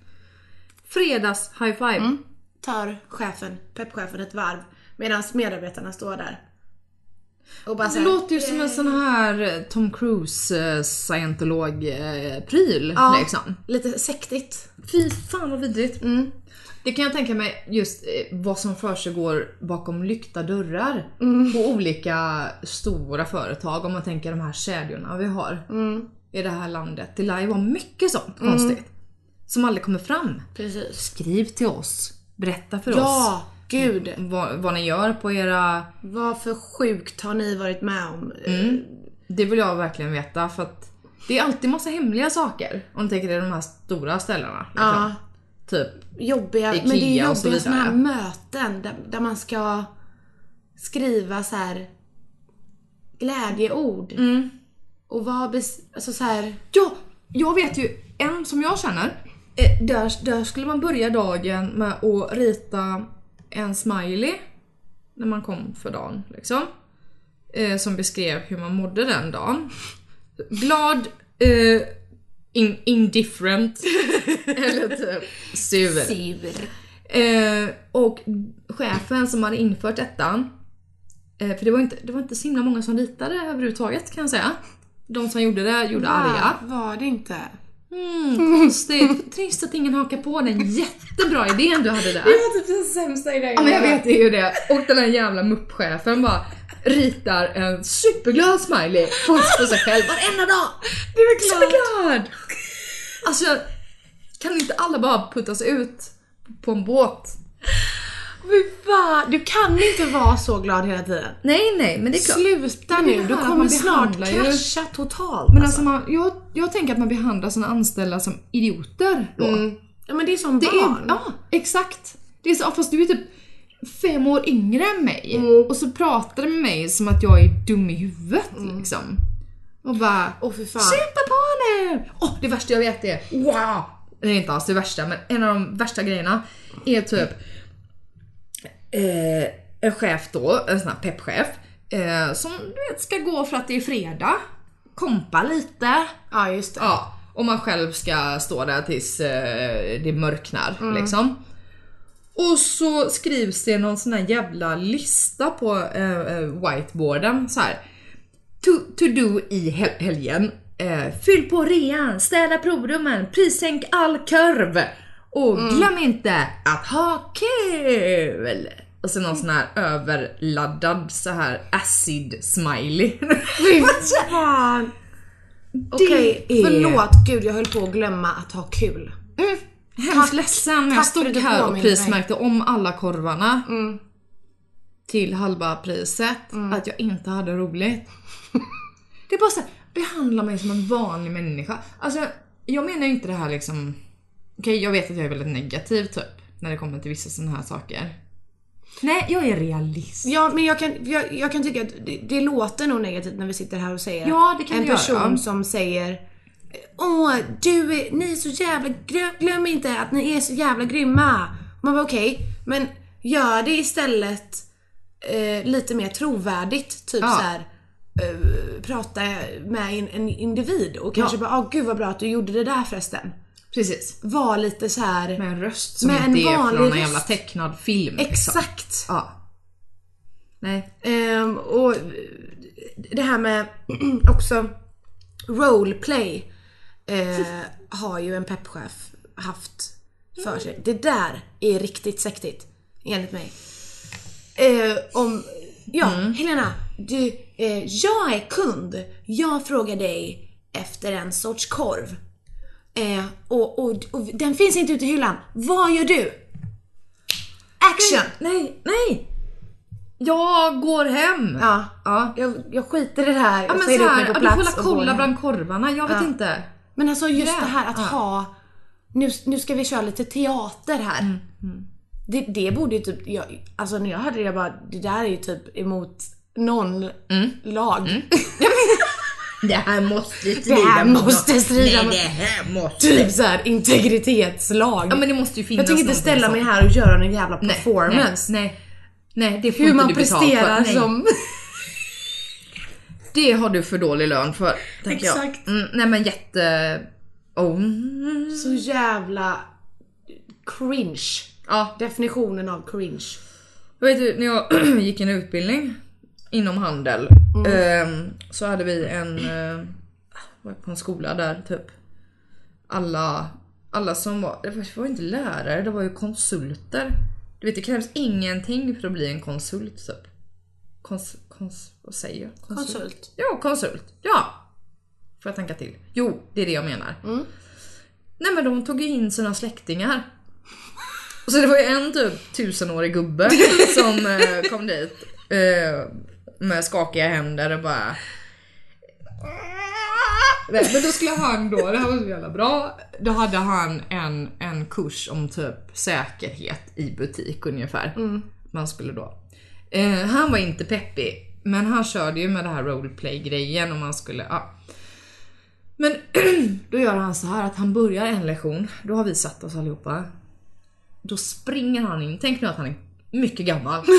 A: Fredags high-five.
B: Tar chefen, peppchefen ett varv. Medan medarbetarna står där. Och bara
A: Det
B: såhär.
A: låter ju som en sån här eh, Tom Cruise eh, scientolog eh, pryl
B: Ja.
A: liksom.
B: Lite sektigt.
A: Fy fan vad vidrigt. Det kan jag tänka mig just eh, vad som försiggår bakom lyckta dörrar
B: Mm.
A: på olika stora företag om man tänker de här kedjorna vi har
B: Mm.
A: i det här landet. Det lär ju vara mycket sånt konstigt som aldrig kommer fram.
B: Precis.
A: Skriv till oss, berätta för oss
B: Ja, gud.
A: vad, vad ni gör på era...
B: Vad för sjukt har ni varit med om?
A: Mm,
B: Eh,
A: Det vill jag verkligen veta för att det är alltid massa hemliga saker om du tänker dig de här stora ställena. Liksom.
B: Ja.
A: Typ
B: Jobbiga,
A: Ikea
B: men det är
A: och så
B: jobbiga
A: vidare.
B: sådana här möten där, där man ska skriva så här glädjeord.
A: Mm.
B: Och vad, bes- alltså så här,
A: Ja, jag vet ju en som jag känner. eh, Där, där skulle man börja dagen med att rita en smiley när man kom för dagen. Liksom. Eh, som beskrev hur man mådde den dagen. Glad, eh, in, indifferent eller typ sur.
B: sur.
A: Eh, och chefen som hade infört detta, eh, för det var, inte, det var inte så himla många som ritade överhuvudtaget kan jag säga. De som gjorde det gjorde arga.
B: Va, Ah, var det inte?
A: Mm, konstigt. Trist att ingen hakar på den jättebra idén du hade där.
B: var typ den sämsta idén
A: Ja men jag vet det är ju det. Och den där jävla muppchefen bara ritar en superglad smiley på på sig själv varenda dag.
B: Det är väl klart.
A: Superglad! Alltså kan inte alla bara puttas ut på en båt?
B: Fy fan, du kan inte vara så glad hela tiden.
A: Nej nej men det är klart.
B: Sluta
A: Men det är
B: nu, du
A: här att
B: kommer
A: man
B: snart
A: behandlar ju-
B: krascha totalt.
A: Men
B: alltså.
A: alltså man, jag, jag tänker att man behandlar sina anställda som idioter då.
B: Mm. Ja men det är som
A: alltså- Det
B: barn.
A: är, ja, exakt. Det är så, ja, fast du är typ fem år yngre än mig
B: Mm.
A: och så pratar du med mig som att jag är dum i huvudet
B: Mm.
A: liksom. Och bara
B: Åh för fan.
A: “Kämpa på nu!” Åh, det värsta jag vet är wow! Det är inte alls det värsta, men en av de värsta grejerna är typ eh, en chef då, en sån här peppchef, eh, som du vet ska gå för att det är fredag, kompa lite,
B: Ja
A: <laughs>
B: just det.
A: Ja, och man själv ska stå där tills eh, det mörknar
B: Mm.
A: liksom. Och så skrivs det någon sån här jävla lista på eh, eh, whiteboarden så här. To, to do i hel helgen. Eh, fyll på rean, städa provrummen, prissänk all kurv och
B: Mm.
A: glöm inte att ha kul! Och sen någon sån här överladdad så här acid smiley. <laughs>
B: Fy fan. Okej,
A: Det är-
B: förlåt. Gud jag höll på att glömma att ha kul.
A: Mm. Hemskt ledsen, jag
B: tack för att
A: stod
B: du
A: här och
B: påminner mig. Mm.
A: prismärkte om alla korvarna till halva priset, att jag inte hade
B: <laughs>
A: roligt. det är bara såhär, behandla mig som en vanlig människa. Alltså, jag menar ju inte det här liksom... Okej, jag vet att jag är väldigt negativ typ, när det kommer till vissa sådana här saker. Nej, jag är realist.
B: Ja men jag kan, jag, jag kan tycka att det, det låter nog negativt när vi sitter här och säger
A: Ja, det kan
B: en
A: det göra.
B: person som säger Åh, du är, ni är så jävla grö- glöm inte att ni är så jävla grymma. Man bara okej, men gör det istället eh, lite mer trovärdigt. Typ
A: Ja.
B: så här. eh, prata med en, en individ och kanske bara åh gud vad bra att du gjorde det där förresten.
A: Precis.
B: Var lite så här.
A: Med en röst som
B: Med en
A: inte är
B: vanlig
A: från någon jävla
B: röst.
A: tecknad film.
B: exakt.
A: Ja. Nej.
B: Ehm, och det här med <clears throat> också roleplay eh, har ju en peppchef haft för sig. Det där är riktigt sektigt enligt mig. Eh, om, ja, Helena, du, eh, jag är kund. Jag frågar dig efter en sorts korv. Eh, och, och, och den finns inte ute i hyllan. Vad gör du?
A: Mm.
B: Action!
A: Nej, nej! Jag går hem!
B: Ja.
A: Ja.
B: Jag, jag skiter i det här,
A: Ja
B: jag
A: men
B: säger upp mig
A: såhär,
B: på
A: ja, du får
B: plats
A: väl
B: och går
A: kolla
B: hem.
A: bland korvarna, jag vet
B: Ja.
A: inte.
B: Men alltså just
A: Grä.
B: det här att
A: Ja.
B: ha, nu, nu ska vi köra lite teater här.
A: Mm,
B: Det, det borde ju typ, jag, alltså när jag hörde det jag bara, det där är ju typ emot någon
A: Mm.
B: lag.
A: Det här måste strida
B: Det här måste strida mot-
A: här måste...
B: Typ såhär integritetslag.
A: Ja men det måste ju finnas
B: jag tänker inte
A: någonting
B: ställa
A: som-
B: mig här och göra någon jävla performance.
A: Nej, nej. Nej, det får
B: Hur
A: inte
B: man
A: du betalt för.
B: presterar
A: Nej. <laughs>
B: som...
A: Det har du för dålig lön för, tänker
B: Exakt.
A: jag. Mm, nej men jätte... Oh. mm.
B: Så jävla cringe.
A: Ja,
B: Definitionen av cringe.
A: Jag vet du, när jag <clears throat> gick en utbildning inom handel ehm, så hade vi en, eh, var på en skola där typ alla, alla som var, det var det var inte lärare, det var ju konsulter. Du vet det krävs ingenting för att bli en konsult typ. Kons, kons, vad säger jag?
B: Konsult.
A: Ja, konsult. Ja! Får jag tänka till? Jo, det är det jag menar. Nej men de tog ju in sina släktingar. Så det var ju en typ tusenårig <laughs> gubbe som eh, kom dit eh, med skakiga händer och bara... Nej, men då skulle han då, det här var så jävla bra, då hade han en, en kurs om typ säkerhet i butik ungefär. Man skulle då. Eh, han var inte peppig, men han körde ju med det här roleplay-grejen och man skulle, ja. Men <clears throat> då gör han så här att han börjar en lektion, då har vi satt oss allihopa. Då springer han in, tänk nu att han är mycket gammal.
B: <laughs>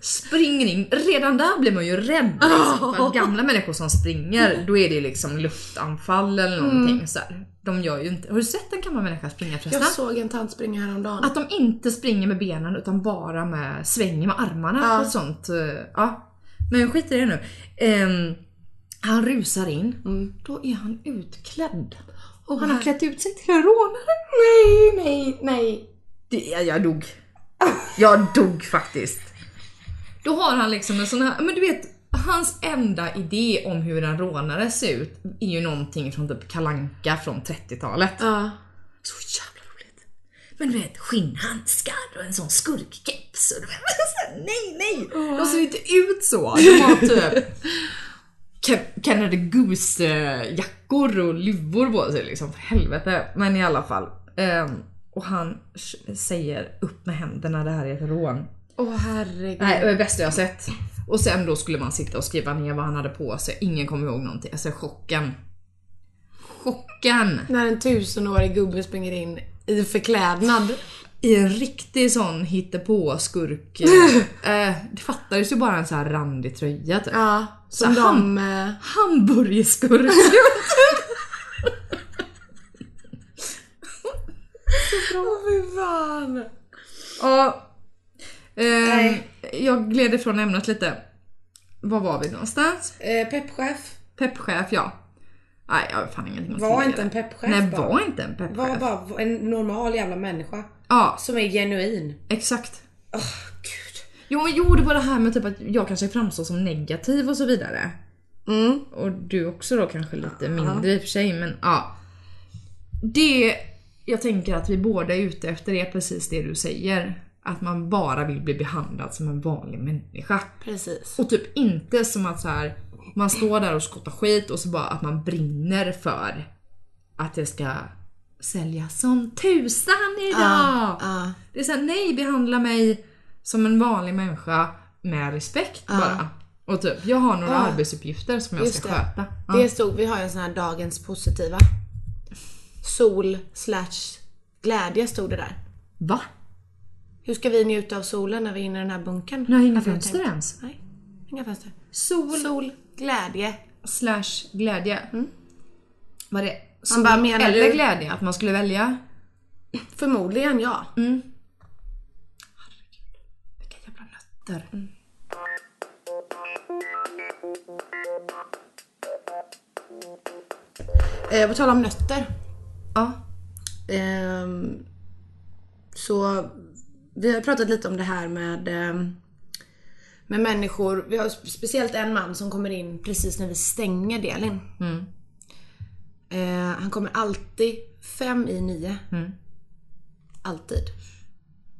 A: springer in, redan där blir man ju rädd.
B: <laughs>
A: Liksom, för att gamla människor som springer, då är det liksom luftanfall eller
B: Mm.
A: någonting så här. De gör ju inte, har du sett en gammal människa springa förresten?
B: Jag såg en tant springa häromdagen.
A: Att de inte springer med benen utan bara med svänger med armarna
B: Ja.
A: och sånt. eh, Ja. Men skit i det nu. Ehm, han rusar in.
B: Mm.
A: Då är han utklädd. Och han har klätt ut sig till en rånare.
B: Nej, nej, nej.
A: Det, jag, jag dog. Jag dog faktiskt. Då har han liksom en sån här, men du vet hans enda idé om hur en rånare ser ut är ju någonting från typ Kalanka från 30-talet.
B: Ja.
A: Så jävla roligt. Men du vet, skinnhandskar och en sån skurkkeps. Och du vet, <laughs> så här, nej, nej! De ser inte ut så. De har typ Can- Canada Goose-jackor och luvor på sig liksom. För helvete. Men i alla fall. ehm, och han s- säger upp med händerna, det här är ett rån.
B: Åh herregud.
A: Nej, det var det bästa jag sett. Och sen då skulle man sitta och skriva ner vad han hade på sig. Ingen kommer ihåg någonting. Alltså chocken. Chocken!
B: När en tusenårig gubbe springer in i förklädnad.
A: i en riktig sån
B: <laughs>
A: hittepå-skurk. eh, det fattades ju bara en sån här randig tröja typ.
B: Ja. Som
A: Så
B: de... eh,
A: Hamburgerskurk.
B: <laughs> Åh fy fan.
A: ja. Eh,
B: Nej.
A: jag gled ifrån ämnet lite. Var var vi någonstans?
B: Eh, peppchef.
A: Peppchef ja. Nej jag har fan ingenting att
B: Var
A: tillägga
B: inte en
A: där.
B: peppchef
A: Nej
B: bara.
A: var inte en peppchef.
B: Var bara en normal jävla människa.
A: Ja
B: Som är genuin.
A: exakt.
B: Åh gud.
A: Jo, men jo det var det här med typ att jag kanske framstår som negativ och så vidare.
B: Mm.
A: Och du också då kanske lite mindre i och för sig men ja. Det jag tänker att vi båda är ute efter är precis det du säger. Att man bara vill bli behandlad som en vanlig människa.
B: Precis.
A: Och typ inte som att så här, man står där och skottar skit och så bara att man brinner för att det ska säljas som tusan idag.
B: Ja.
A: Det är såhär, nej behandla mig som en vanlig människa med respekt bara. Och typ, jag har några
B: Ja.
A: arbetsuppgifter som jag
B: Just
A: ska
B: det.
A: sköta. Ja.
B: Det stod, vi har ju en sån här dagens positiva. Sol slash glädje stod det där.
A: Va?
B: Hur ska vi njuta av solen när vi är inne i den här bunkern?
A: Ni har inga
B: Hade jag
A: fönster
B: tänkt.
A: ens?
B: Nej, inga fönster.
A: Sol
B: Sol, glädje.
A: slash glädje. Var det sol
B: Han Mm. bara, menar
A: eller
B: du-
A: glädje? Att man skulle välja?
B: Förmodligen ja.
A: Vilka jävla nötter.
B: Eh, på tal om nötter.
A: Ja.
B: Ehm, så vi har pratat lite om det här med, ehm, med människor. Vi har spe- speciellt en man som kommer in precis när vi stänger delen.
A: Mm.
B: Eh, han kommer alltid fem i nio.
A: Mm.
B: Alltid.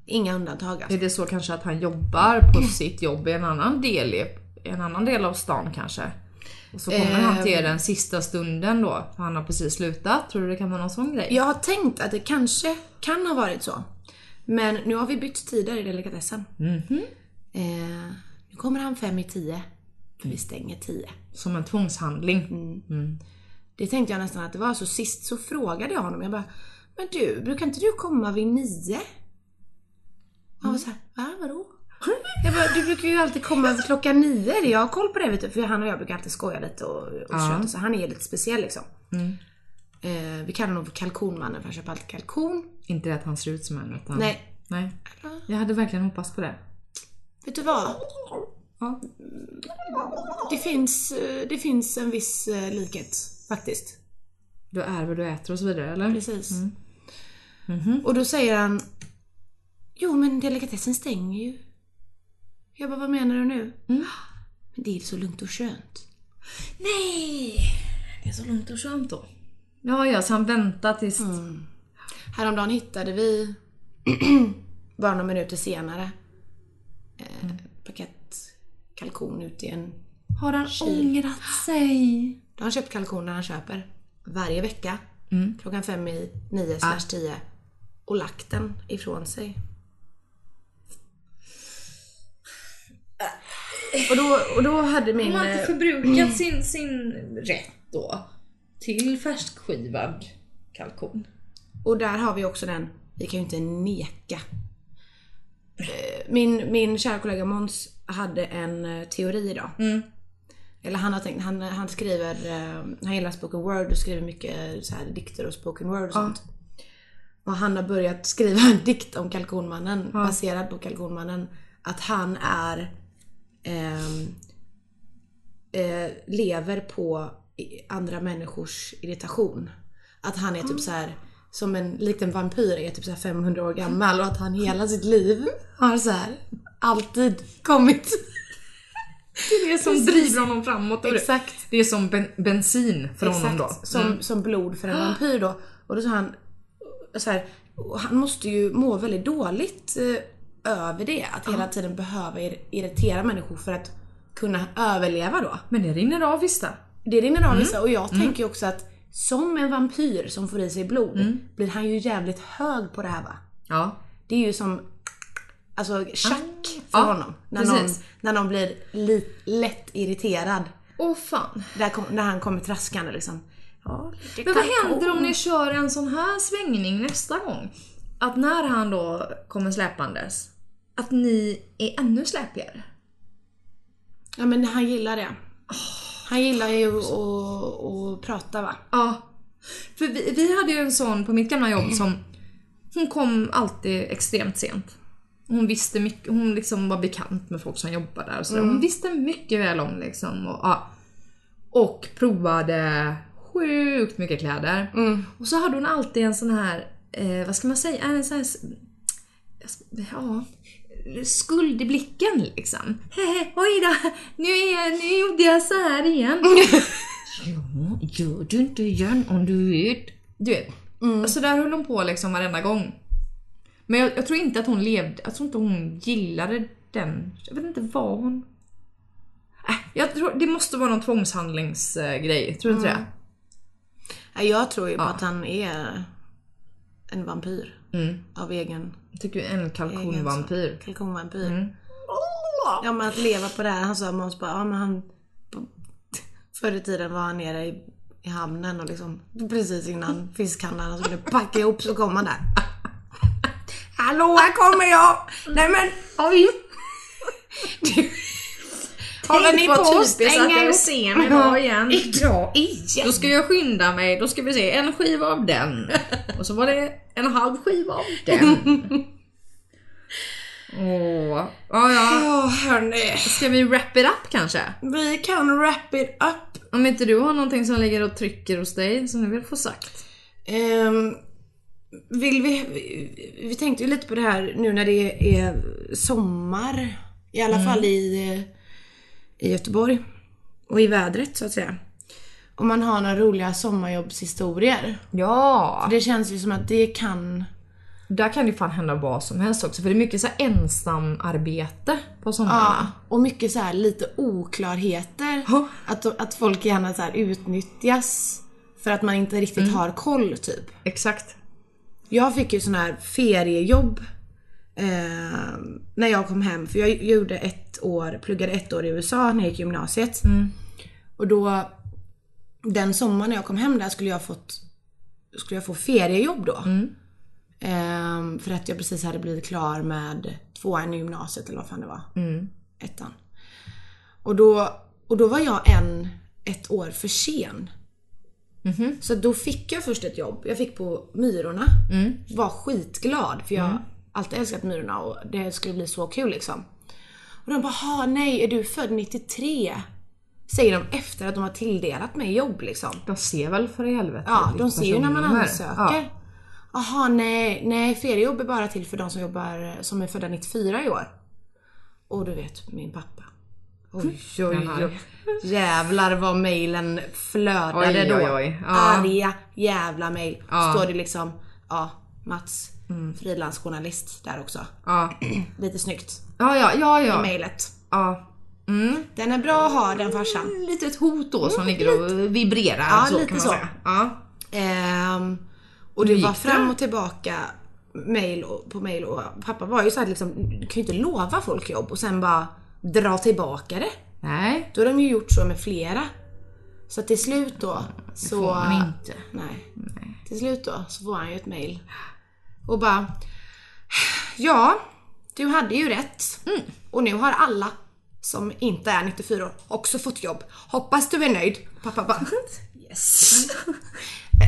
B: Inga undantag alltså.
A: Är det så kanske att han jobbar
B: Mm.
A: på sitt jobb i en annan del, i i en annan del av stan kanske? Och så kommer han
B: Ehm.
A: till er den sista stunden då, för han har precis slutat. Tror du det kan vara någon sån grej?
B: Jag har tänkt att det kanske kan ha varit så. Men nu har vi bytt tider i delikatessen. Eh, nu kommer han fem i tio. För vi stänger tio.
A: Som en tvångshandling.
B: Mm. Det tänkte jag nästan att det var. Så sist så frågade jag honom. Jag bara, men du, brukar inte du komma vid nio? Han var såhär, va vadå? Jag bara, du brukar ju alltid komma vid klockan nio. Jag har koll på det vet du. För han och jag brukar alltid skoja lite och, och köta. Så han är lite speciell liksom. Eh, vi kallar honom för kalkonmannen för han köper alltid kalkon.
A: Inte det att han ser ut som en utan...
B: Nej.
A: Nej. Jag hade verkligen hoppats på det.
B: Vet du vad?
A: Ja.
B: Det finns, eh, det finns en viss eh, likhet faktiskt.
A: Du är vad du äter och så vidare eller?
B: Precis. Och då säger han Jo men delikatessen stänger ju. Jag bara, vad menar du nu? Men det är så lugnt och skönt.
A: Nej! Det är så lugnt och skönt då. Ja, ja, så han väntar tills...
B: Mm. Häromdagen hittade vi, <clears throat> bara några minuter senare, eh, paket kalkon ute i en...
A: Har han ångrat sig?
B: Då har han köpt kalkoner han köper varje vecka. Klockan fem i nio slash tio. Och lagt den ifrån sig. Och då, och då hade min...
A: Han har inte
B: eh,
A: förbrukat sin, sin rätt då till färskskivad kalkon.
B: Och där har vi också den, vi kan ju inte neka. Eh, Min, min kära kollega Måns hade en eh, teori idag. Eller han har tänkt, han, han skriver, eh, han gillar spoken word och skriver mycket så här dikter och spoken word och sånt. Och han har börjat skriva en dikt om Kalkonmannen baserad på Kalkonmannen. Att han är ehm, eh, lever på i- andra människors irritation. Att han är typ så här som en liten vampyr är typ så här 500 år gammal och att han hela sitt liv har så här alltid kommit.
A: Det är det som driver honom framåt. och
B: Exakt. Mm.
A: Det är som ben, bensin för honom då. Mm.
B: Som, som blod för en vampyr då. Och då sa han så här, och han måste ju må väldigt dåligt eh, över det. Att hela tiden behöva ir- irritera människor för att kunna överleva då.
A: Men det rinner av visst det.
B: Det rinner
A: Mm.
B: av vissa och jag tänker ju också att som en vampyr som får i sig blod
A: Mm.
B: blir han ju jävligt hög på det här va?
A: Ja.
B: Det är ju som alltså tjack för
A: Ah. Ja,
B: honom. När någon,
A: precis.
B: när någon blir li, lätt irriterad.
A: Åh fan.
B: Där kom, när han kommer traskande liksom. Ja, lite
A: Men vad
B: kalkon.
A: händer om ni kör en sån här svängning nästa gång? Att när han då kommer släpandes, att ni är ännu släpigare?
B: Ja men han gillar det. Han gillar ju att- att att prata va?
A: Ja. För vi, vi hade ju en sån på mitt gamla jobb som hon kom alltid extremt sent. Hon visste mycket, hon liksom var bekant med folk som jobbade där och sådär. Hon visste mycket väl om liksom och, ja. och provade sjukt mycket kläder. Och så hade hon alltid en sån här, eh, vad ska man säga, en sån här, s- jag ska- ja, skuld i blicken liksom. <laughs> Hehe, oj då, nu, är jag, nu gjorde jag så här igen. Ja, gör du inte igen om du vet. Mm. Du vet. Så där höll hon på liksom varenda gång. Men jag, jag tror inte att hon levde, jag tror inte hon gillade den. Jag vet inte vad hon... Äh, jag tror, det måste vara någon tvångshandlingsgrej, tror du inte det?
B: Ja, Jag tror ju på att han är en vampyr. Av egen
A: Jag tycker en kalkonvampyr.
B: Kalkonvampyr. Ja men att leva på det här. Han sa Måns bara, ja men han... på- Förr i tiden var han nere i, i hamnen och liksom precis <laughs> innan fiskhandlarna skulle packa ihop så kom han där. <laughs> Hallå här kommer jag! Nej men oj! <laughs> Håller ni på att stänga ihop?
A: scenen idag igen?
B: Idag igen!
A: Då ska jag skynda mig, då ska vi se en skiva av den. Och så var det en halv skiva av
B: <laughs>
A: den. Åh, ja ja.
B: Åh hörni.
A: Ska vi wrap it up kanske?
B: Vi kan wrap it up.
A: Om inte du har någonting som ligger och trycker hos dig som du vill få sagt.
B: Ehm, vill vi, vi- vi tänkte ju lite på det här nu när det är sommar. I alla fall i, eh, i Göteborg. Och i vädret så att säga. Om man har några roliga sommarjobbshistorier.
A: Ja!
B: Det känns ju som att det kan...
A: Där kan det ju fan hända vad som helst också för det är mycket så här ensamarbete på somrarna.
B: Och mycket så här lite oklarheter.
A: Ja.
B: Att, att folk gärna så här utnyttjas. För att man inte riktigt har koll typ.
A: Exakt.
B: Jag fick ju sån här feriejobb eh, när jag kom hem. För jag gjorde ett år, pluggade ett år i USA när jag gick gymnasiet. Och då, den sommaren när jag kom hem där skulle jag fått skulle jag få feriejobb då. Eh, för att jag precis hade blivit klar med tvåan i gymnasiet eller vad fan det var. Ettan. Och då, och då var jag en, ett år för sen. Så då fick jag först ett jobb. Jag fick på Myrorna. Var skitglad för jag har alltid älskat Myrorna och det skulle bli så kul liksom. Och de bara, "Ha, nej är du född 93? Säger de efter att de har tilldelat mig jobb liksom.
A: De ser väl för i helvete
B: Ja, de
A: ditt
B: ser ju när man
A: personnummer.
B: ansöker.
A: Ja.
B: Ja. Aha, nej, nej feriejobb är bara till för de som jobbar som är födda 94 i år. Och du vet, min pappa. Oj, oj,
A: Den
B: oj. Jävlar vad mailen flödade
A: Oj,
B: då.
A: oj, oj. Ja.
B: Arga jävla mail.
A: Ja. Mm.
B: Står det liksom, ja, Mats, frilansjournalist där också.
A: Ja,
B: Lite snyggt,
A: ja, ja, ja. ja.
B: mailet.
A: ja. Mm.
B: Den är bra att ha den farsan.
A: Lite ett hot då som ligger och vibrerar.
B: Mm, Ja,
A: så,
B: lite
A: kan man
B: så.
A: Säga. Ja.
B: Ehm, och det
A: Hur gick
B: var fram
A: det?
B: och tillbaka mail och, på mail och pappa var ju såhär liksom, du kan ju inte lova folk jobb och sen bara dra tillbaka det.
A: Nej,
B: Då har de ju gjort så med flera. Så till slut då så...
A: Mm, får man inte.
B: Nej. Till slut då så får han ju ett mail. Och bara... Ja, du hade ju rätt.
A: Mm.
B: Och nu har alla som inte är 94 år också fått jobb. Hoppas du är nöjd. Pappa bara... Yes.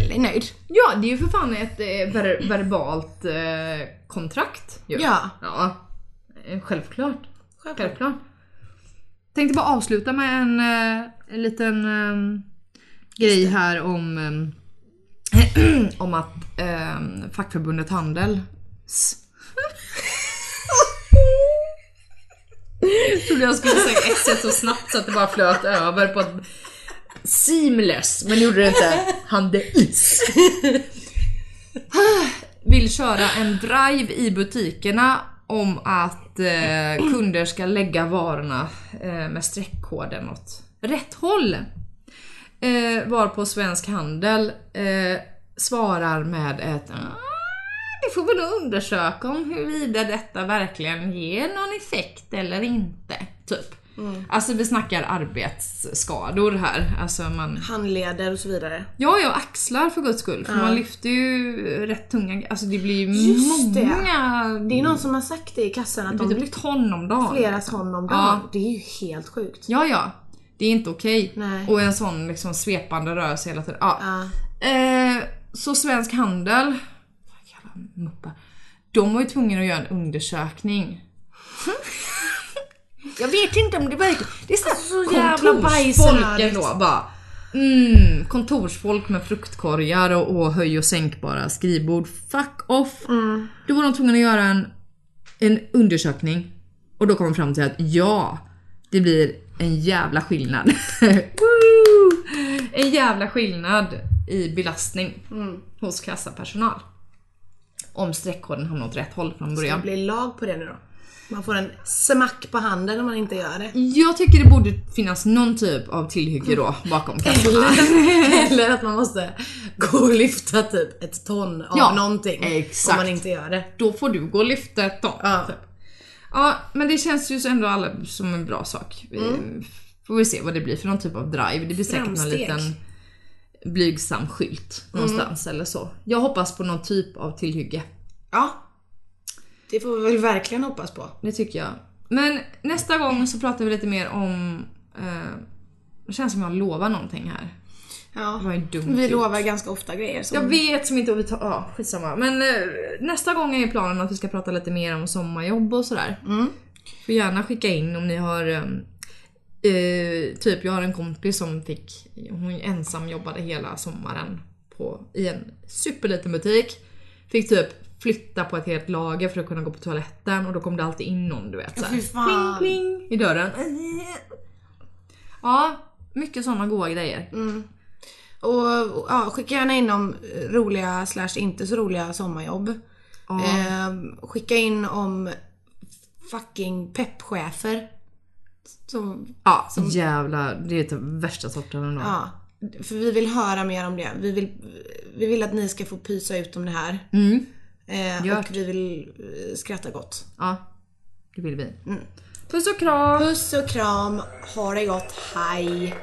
B: Väldigt nöjd.
A: Ja, det är ju för fan ett eh, ver- verbalt eh, kontrakt. ju.
B: Ja.
A: ja. Eh, Självklart. Självklart. Tänkte bara avsluta med en, eh, en liten eh, grej här om, eh, <clears throat> om att eh, fackförbundet Handel S. Trodde <laughs> jag skulle säga S så snabbt så att det bara flöt över på ett seamless, men gjorde det inte. Handels. vill köra en drive i butikerna om att eh, kunder ska lägga varorna eh, med streckkoden åt rätt håll. Eh, varpå Svensk Handel eh, svarar med ett "Ah, det får vi nog undersöka om huruvida detta verkligen ger någon effekt eller inte. Typ. Alltså vi snackar arbetsskador här. Alltså man
B: Handleder och så vidare.
A: Ja, jag axlar för guds skull. För man lyfter ju rätt tunga, alltså det blir ju
B: Just det.
A: många... Det,
B: Det är någon som har sagt det i kassan att
A: blir
B: de
A: typ ton om dagen.
B: flera ton om dagen. Det är ju helt sjukt.
A: Ja, ja. Det är inte okej.
B: Nej.
A: Och en sån liksom svepande rörelse hela tiden. Ja.
B: Ja.
A: Eh, så Svensk Handel, vad jävla muppar. De var ju tvungna att göra en undersökning. <laughs> jag vet inte om det verkligen... Det är
B: Så
A: såhär
B: jävla
A: kontorsfolken
B: bajsnödigt.
A: då bara. Mm, kontorsfolk med fruktkorgar och, och höj och sänkbara skrivbord. Fuck off! Då var de tvungna att göra en, en undersökning och då kom de fram till att ja, det blir en jävla skillnad. <laughs> Woo! en jävla skillnad i belastning hos kassapersonal. Om streckkoden hamnar åt rätt håll från
B: Det
A: början.
B: blir lag på det nu då. Man får en smack på handen om man inte gör det.
A: Jag tycker det borde finnas någon typ av tillhygge då bakom
B: <laughs>
A: kassorna.
B: Eller att man måste gå och lyfta typ ett ton av
A: Ja,
B: någonting.
A: exakt.
B: Om man inte gör det.
A: då får du gå och lyfta ett ton.
B: Ja.
A: Typ. ja men det känns ju så ändå alla som en bra sak. Vi Får vi se vad det blir för någon typ av drive. Det blir säkert någon
B: Mm. Framsteg.
A: liten blygsam skylt
B: Mm.
A: någonstans eller så. Jag hoppas på någon typ av tillhygge.
B: Ja. Det får vi väl verkligen hoppas på.
A: Det tycker jag. Men nästa gång så pratar vi lite mer om... Eh, det känns som jag lovar någonting här.
B: Ja.
A: Det var ju dumt
B: Vi
A: gjort.
B: lovar ganska ofta grejer. Som...
A: Jag vet som inte vad vi tar... Ja, skitsamma. Men eh, nästa gång är ju planen att vi ska prata lite mer om sommarjobb och sådär.
B: Mm.
A: Får gärna skicka in om ni har... ehm, eh, typ jag har en kompis som fick... Hon ensam jobbade hela sommaren på, i en superliten butik. Fick typ flytta på ett helt lager för att kunna gå på toaletten och då kom det alltid in någon du vet. Så
B: Fy fan. Mm.
A: Pling, pling, I dörren. Ja, mycket sådana goa grejer.
B: Mm. Och och, ja, skicka gärna in om eh, roliga slash inte så roliga sommarjobb.
A: Ja.
B: Ehm, skicka in om fucking peppchefer. Som
A: Ja, jävla, det är den värsta sorten ändå.
B: Ja, för vi vill höra mer om det. Vi vill, vi vill att ni ska få pysa ut om det här.
A: Mm.
B: Eh, och vi vill eh, skratta gott.
A: Ja,
B: Mm.
A: det vill vi. Puss och kram!
B: Puss och kram, ha det gott, hej!